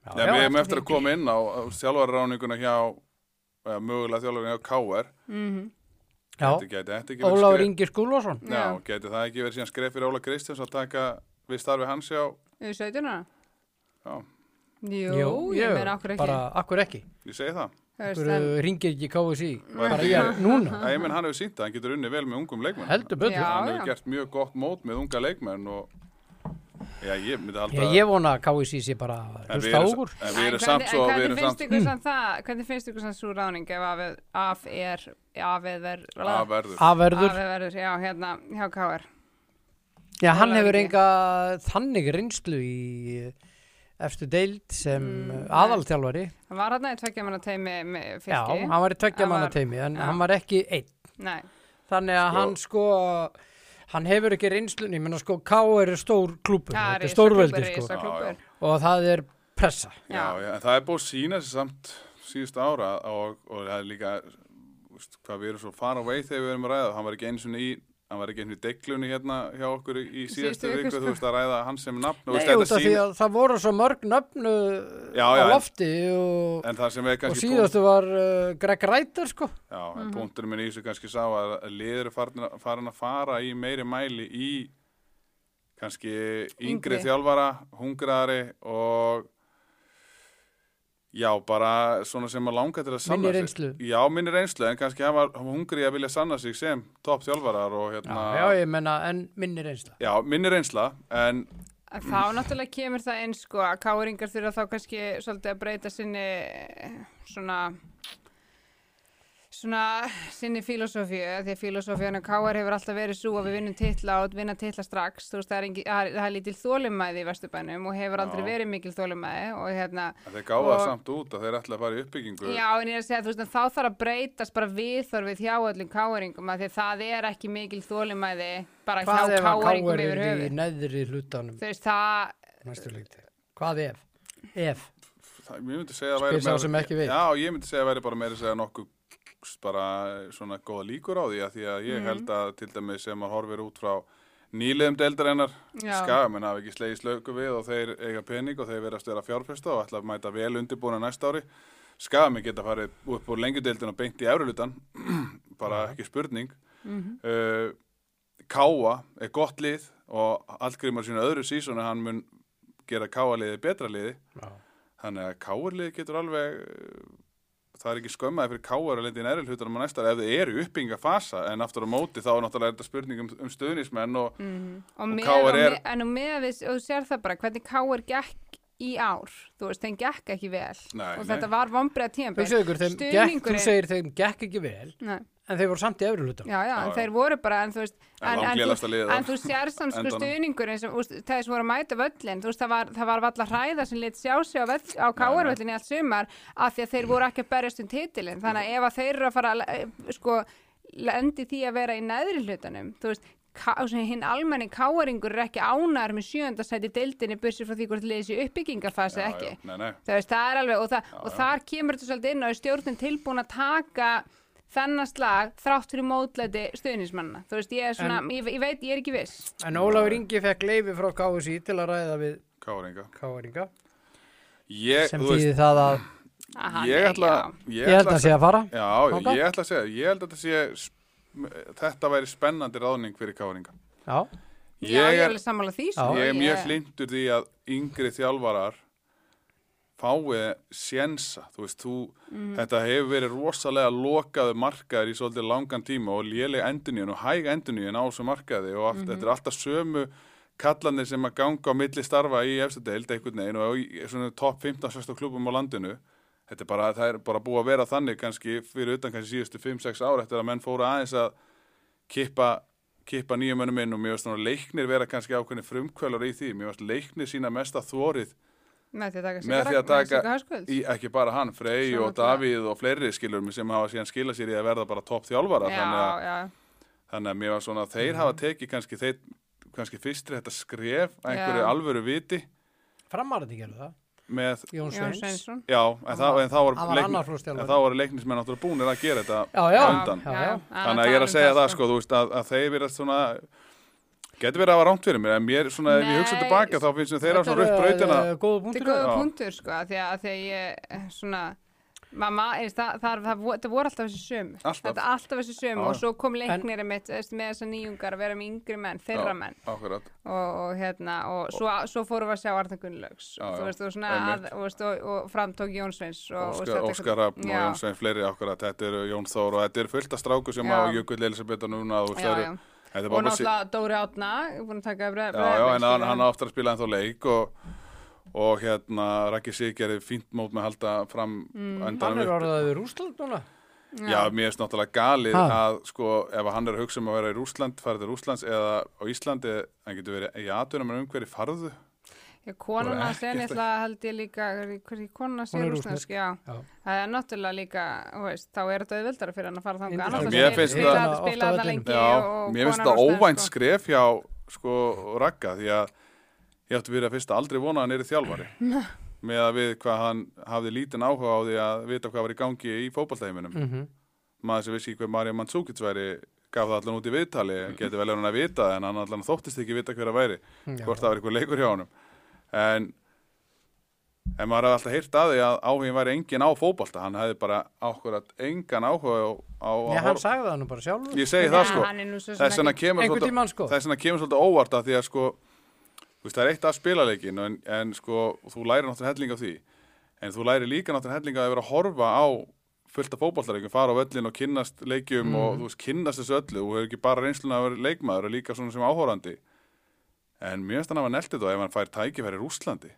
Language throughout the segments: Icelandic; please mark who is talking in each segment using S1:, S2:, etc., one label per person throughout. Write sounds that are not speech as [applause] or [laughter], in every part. S1: Já,
S2: við
S1: já,
S2: hefum
S1: þetta
S2: eftir að
S1: fínt.
S2: koma inn á þjálfararáninguna hjá, eða mögulega þjálfararáninguna hjá KR. Þetta
S1: Já,
S2: gæti þetta ekki verið
S1: Óláður
S2: skref-
S1: Ingi Skúlvason.
S2: Já, gæti það ekki verið síðan skref fyrir Óla Kristjáns að taka við starfi hans hjá,
S3: Yfir 17 ára?
S2: já,
S3: Jú, ég meina okkur ekki.
S1: Bara akkur ekki.
S2: ég segi það.
S3: Þú veist,
S1: Akkur
S3: en-
S1: ringir ekki KSI.
S2: Nei.
S1: Bara
S3: [laughs]
S1: ég er núna.
S2: Það ég menn hann hefur sínt að hann getur unnið vel með ungum leikmenn.
S1: Heldur betur.
S3: Já.
S2: Hann hefur gert mjög gott mót með unga leikmenn og, já, ég myndi halda
S1: Já, ég vona að KSI sé bara að
S2: En við
S1: hlusta á
S2: erum,
S1: okkur.
S2: en við
S3: En
S2: erum
S3: hvernig-
S2: samt svo,
S3: en
S2: við
S3: hvernig
S2: erum
S3: finnst
S2: samt
S3: ykkur samt það, hvernig finnst ykkur samt svo ráning ef af, af er, af eð ver,
S2: að verður.
S3: af
S1: Averður.
S3: eð verður, já, hérna, hjá K.R.
S1: Já, hann
S3: Ólafur
S1: hefur
S3: Ingi.
S1: enga þannig reynslu í eh, efstu deild sem mm, aðalþjálfari.
S3: Hann var hérna í tveggja manna teimi með
S1: Já,
S3: fylki.
S1: hann var í tveggja
S3: Hann
S1: manna
S3: var-
S1: teimi en
S3: já.
S1: hann var ekki einn.
S3: Nei,
S1: Þannig að hann sko, hann hefur ekki reynslunni, menn að sko K.R. er stór klúpur,
S3: það
S1: þetta er
S3: risa
S1: stórveldi
S3: klúbbur,
S1: sko
S3: risa klúbbur.
S1: og það er pressa.
S2: Já,
S3: Já.
S2: já, en það er búið að sína sér samt síðust ára og, og það er líka úst, hvað við erum svo far away þegar við erum að ræða hann var ekki eins og í hann var ekki eins og í deglunni hérna hjá okkur í í síðustu
S3: Síðustu viku,
S2: viku
S3: sko.
S2: þú veist að ræða hann sem nafn og,
S1: Nei,
S2: veist, þetta
S1: út af því
S2: sýnir-
S1: að það voru svo mörg nöfnu
S2: Já,
S1: á
S2: já, en-
S1: lofti og,
S2: en það sem er
S1: og
S2: kannski punkt-
S1: síðastu var uh, Greg Rætar sko.
S2: já, en punkturinn minn í þessu kannski sá að liður er farin, að- farin að fara í meiri mæli í kannski yngri
S3: Yngri.
S2: þjálfara hungraðari og já, bara svona sem að langa til að sanna
S1: Minni
S2: sig.
S1: reynslu.
S2: Já, minni reynslu, en kannski hann var hann var hungri að vilja sanna sig sem topp þjálfarar og
S1: Já,
S2: hérna
S1: já, ég menna en minni reynsla.
S2: já, minni reynsla, en
S3: Að Þá náttúrulega kemur það inn sko að káringar þurfa þá kannski svolítið að breyta sinni eh, svona svona sinni filosófíu því að filosófíun og káar hefur alltaf verið svo að við vinnum titla og vinna titla strax þú veist það er, engi, það er, það er lítil þólimæði í Vesturbænum og hefur aldrei
S2: Já.
S3: verið mikil þólimæði og hérna
S2: en þeir gáða
S3: Og-
S2: samt út að þeir ætla að fara í uppbyggingu
S3: Já, en ég er að segja, þú veist, en þá þarf að breytast bara viðþorfið hjá öllum káeringum að því að það er ekki mikil þólimæði bara
S1: Hvað
S3: hjá
S1: ef að
S3: káeringum
S1: K.R.
S3: yfir
S1: er í
S3: höfuð.
S1: neðri hlutanum
S3: Þú veist, það,
S1: næstu leikti? Hvað ef? Ef?
S2: það, ég myndi segja að
S1: Spyr
S2: væri
S1: sá
S2: meira-
S1: sem ekki veit.
S2: já, ég myndi segja að væri bara meira að segja nokkuð bara svona góða líkur á því að því að ég held að til dæmis sem maður horfir út frá nýlegum deildarinnar
S3: Já.
S2: skagamenn hafa ekki slegið slöku við og þeir eiga pening og þeir verðast vera fjárfesta og ætla að mæta vel undirbúna næsta ári skagamenn geta farið upp úr lengjudeildin og beint í efrilutan [clears throat] bara ekki spurning uh, Káa er gott lið og Allgrimar sína öðru sísonu hann mun gera Káa liði betra liði
S1: Já.
S2: Þannig að káarlið getur alveg, uh, það er ekki skömmaði fyrir káar að lendi í næri hlutunum á næstari ef þið eru uppbygginga fasa en aftur á móti þá er náttúrulega þetta spurning um, um stöðnismenn og
S3: Mhm. og með,
S2: KR
S3: og
S2: er-
S3: með, en og með við, og þú sér það bara hvernig K.R. gekk í ár þú veist, þeim gekk ekki vel
S2: Nei,
S3: og
S2: nei.
S3: þetta var vombriða tíma
S1: Hugsaðu ykkur, þeim gekk, þú segir þeim gekk ekki vel
S3: Nei,
S1: en þeir voru samt í efri hlutanum.
S3: já, já, en
S2: já.
S3: þeir voru bara en þú veist,
S2: En
S3: en,
S2: langlélegasta
S3: þú,
S2: liðið var-
S3: en þú sér samt sko
S2: endanum.
S3: stuðningurinn sem, úst, þeir sem voru að mæta völlin þú veist, það var, það var valla hræða sem lit sjá sig á, völl, á
S2: Nei, nei.
S3: káarvöllin í allt sumar af því að þeir voru ekki að berjast um titilin þannig að ef að þeir eru að fara að le- sko, lendi því að vera í neðri hlutanum þú veist, ká- sem hinn almenni káaringur er ekki ánæður með sjöndasæti deildinni bursir frá því hvort liðið sé uppbyggingafasi
S2: Já,
S3: ekki
S2: já, nei, nei.
S3: Þú veist, það er alveg, og, það, og þar kemur þetta svolítið inn og er stjórnin tilbúin að taka þennan slag þrátt fyrir mótlæti stuðnismanna. Þú veist, ég er svona, ég, ég veit, ég er ekki viss.
S1: En Ólafur Ingi fekk leifi frá KSI til að ræða við
S2: káaringa.
S1: KRinga
S2: Ég,
S1: sem
S2: þú
S1: þýði það að
S3: Aha,
S2: ég
S3: nei,
S2: ætla,
S3: já.
S1: ég held að sé að fara
S2: Já,
S1: Þangað?
S2: ég ætla að segja, ég held að þetta sé, sm- þetta væri spennandi ráðning fyrir káaringa.
S1: Já,
S3: Já, ég er alveg sammála því. sko.
S2: Ég er mjög hlindur því að yngri þjálfarar fái sjensa, þú veist, þú, þetta hefur verið rosalega lokaðu markaður í svolítið langan tíma og léleg enduníun og hæg enduníun á þessu markaði og allt, þetta er alltaf sömu kallanir sem að ganga á milli starfa í efstadeild einhvern veginn og í svona topp 15-16 klubum á landinu þetta er bara, það er bara búið að vera þannig kannski fyrir utan kannski síðustu 5-6 ára eftir að menn fóru aðeins að kippa, kippa nýjum önum inn og mér finnst svona leiknir vera kannski ákveðni frumkvölar í því, mér finnst leiknir sína mesta þórið
S3: Með því að taka
S2: með því að taka
S3: Haskvöld.
S2: í, ekki bara hann, Frey
S3: Svo
S2: og Davíð og fleiri skilur mig sem hafa síðan skila sér í að verða bara topp þjálfara,
S3: Já,
S2: þannig, að,
S3: já.
S2: þannig að mér var svona að þeir hafa tekið kannski, þeir, kannski fyrstri þetta skref að einhverju
S3: Já.
S2: alvöru viti
S1: framarði gerðu það
S2: með
S1: Jón
S3: Jón
S1: Sveins
S3: Sveinsson.
S2: Já, en, það, en þá voru
S1: hann var
S2: leikni-
S1: annar flokksþjálfari.
S2: en þá voru leiknismenn náttúrulega búnir að gera þetta
S1: Já, já.
S2: á undan.
S1: Já, já.
S3: um
S2: sko.
S3: sko.
S2: Þannig að ég er að segja það sko, þú veist, að, að þeir verðast svona Getur verið að hafa rámt fyrir mér, en mér, svona, ef ég hugsa
S3: Nei,
S2: tilbaka, þá finnst mér þeirra
S1: Þetta
S2: svona
S1: er,
S2: rautt brautina.
S1: eh, Góða
S3: Þetta er
S1: punktur.
S3: góða
S2: Já.
S3: punktur sko, af því að, af því að ég eh, svona, mamma, er, það, það, það, vo- það voru alltaf þessi sömu.
S2: Alltaf.
S3: Þetta er alltaf þessi sömu
S2: Já.
S3: og svo kom leiknir einmitt þú veist, með þessar nýjungar að vera með yngri menn, þeirra menn
S2: Akkurat.
S3: og, og hérna, og svo, svo fórum við að sjá Arna Gunnlaugs
S2: Já,
S3: og
S2: já,
S3: þú veist, og svona, að,
S2: einmitt.
S3: og, veist, og, og framtók Jónsveins og, og
S2: Óskar,
S3: þetta eitthvað-
S2: Óskar Rafn og
S3: Já.
S2: Jón Svein fleiri akkurat, þetta eru Jón Þór og þetta eru fullt af stráku sem
S3: Já.
S2: á Jökull Elisabetta núna og
S3: Já,
S2: þetta eru,
S3: já.
S2: þetta er
S3: Og
S2: bara bara sí-
S3: náttúrulega Dóri Átna, búin að taka sko. breð,
S2: Já, já, en hann, hann áttur að spila ennþá leik og, og hérna, Raki Sig gerir fínt mót með að halda fram mm,
S1: Hann
S2: endanum
S1: er
S2: upp.
S1: orðaðið Rúsland núna.
S2: Já, mér finnst náttúrulega galið
S1: Ha.
S2: að sko, ef hann er að hugsa um að vera í Rúsland, farið til Rúslands eða á Íslandi, hann getur verið í atvinnum en umhverju farðu.
S3: Já, konan
S2: Bara
S3: hans er
S2: ekkert
S3: náttúrulega held ég líka, hverju konan hans
S1: Hún
S3: er
S1: er rússnesk.
S3: rúsnesk, já.
S1: Já.
S3: Það er náttúrulega líka, þú veist, þá er þetta auðveldara fyrir hann að fara
S1: Indískt.
S3: þangað. annars
S2: Mér
S3: að
S2: finnst
S3: spila-
S2: það-
S1: Oft á
S3: Spila þetta
S1: vellinum.
S3: lengi
S2: Já,
S3: og
S2: mér finnst
S3: konan
S2: það
S3: rússnesk,
S2: óvænt
S3: sko.
S2: skref hjá sko, Ragga því að ég átti verið að fyrst aldrei vona að hann er
S3: [laughs]
S2: þjálfari með að við hvað hann hafði lítinn áhuga á því að vita hvað var í gangi í fótballtæminum
S3: Mm.
S1: Mhm.
S2: maður sem vissi ekki hver Marja Mandsúkits væri gaf það allan út í viðtali, geti vel hann að vita það, en hann allan þóttist ekki vita hver að væri
S1: Já.
S2: hvort það var eitthvað leikur hjá honum en, en maður hafði alltaf heyrt að því að áhugin væri engin á fótbolta hann hefði bara ákvörðat engan áhuga á, á, á
S1: Nei, hann sagði það nú bara sjálfur.
S2: ég segi það
S3: Já,
S2: sko
S3: hann er nú svo sem
S2: þess vegna
S3: ekki-
S2: kemur
S1: Einhvern
S2: svolítið-
S1: tímann, sko.
S2: þess vegna kemur svolítið óvart að því að sko þú veist, það er eitt að spila leikin en, en sko þú lærir náttúrulega helling af því en þú lærir líka náttúrulega helling af að vera að horfa á fullt af fótballtareikum fara á völlin og kynnast leikjum og þú veist kynnast þessu öllu og hefur ekki bara reynsluna að vera leikmaður og líka svona sem áhorandi en mjög stann að hann eldi þá ef hann fær tækifæri í Rúslandi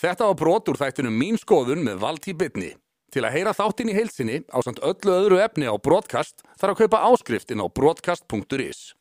S4: Þetta var brot úr þættunum Mín skoðun með Valtí Bitni. Til að heyra þáttin í heilsinni á samt öllu öðru efni á broadcast þarf að kaupa áskrift inn á broadcast.is.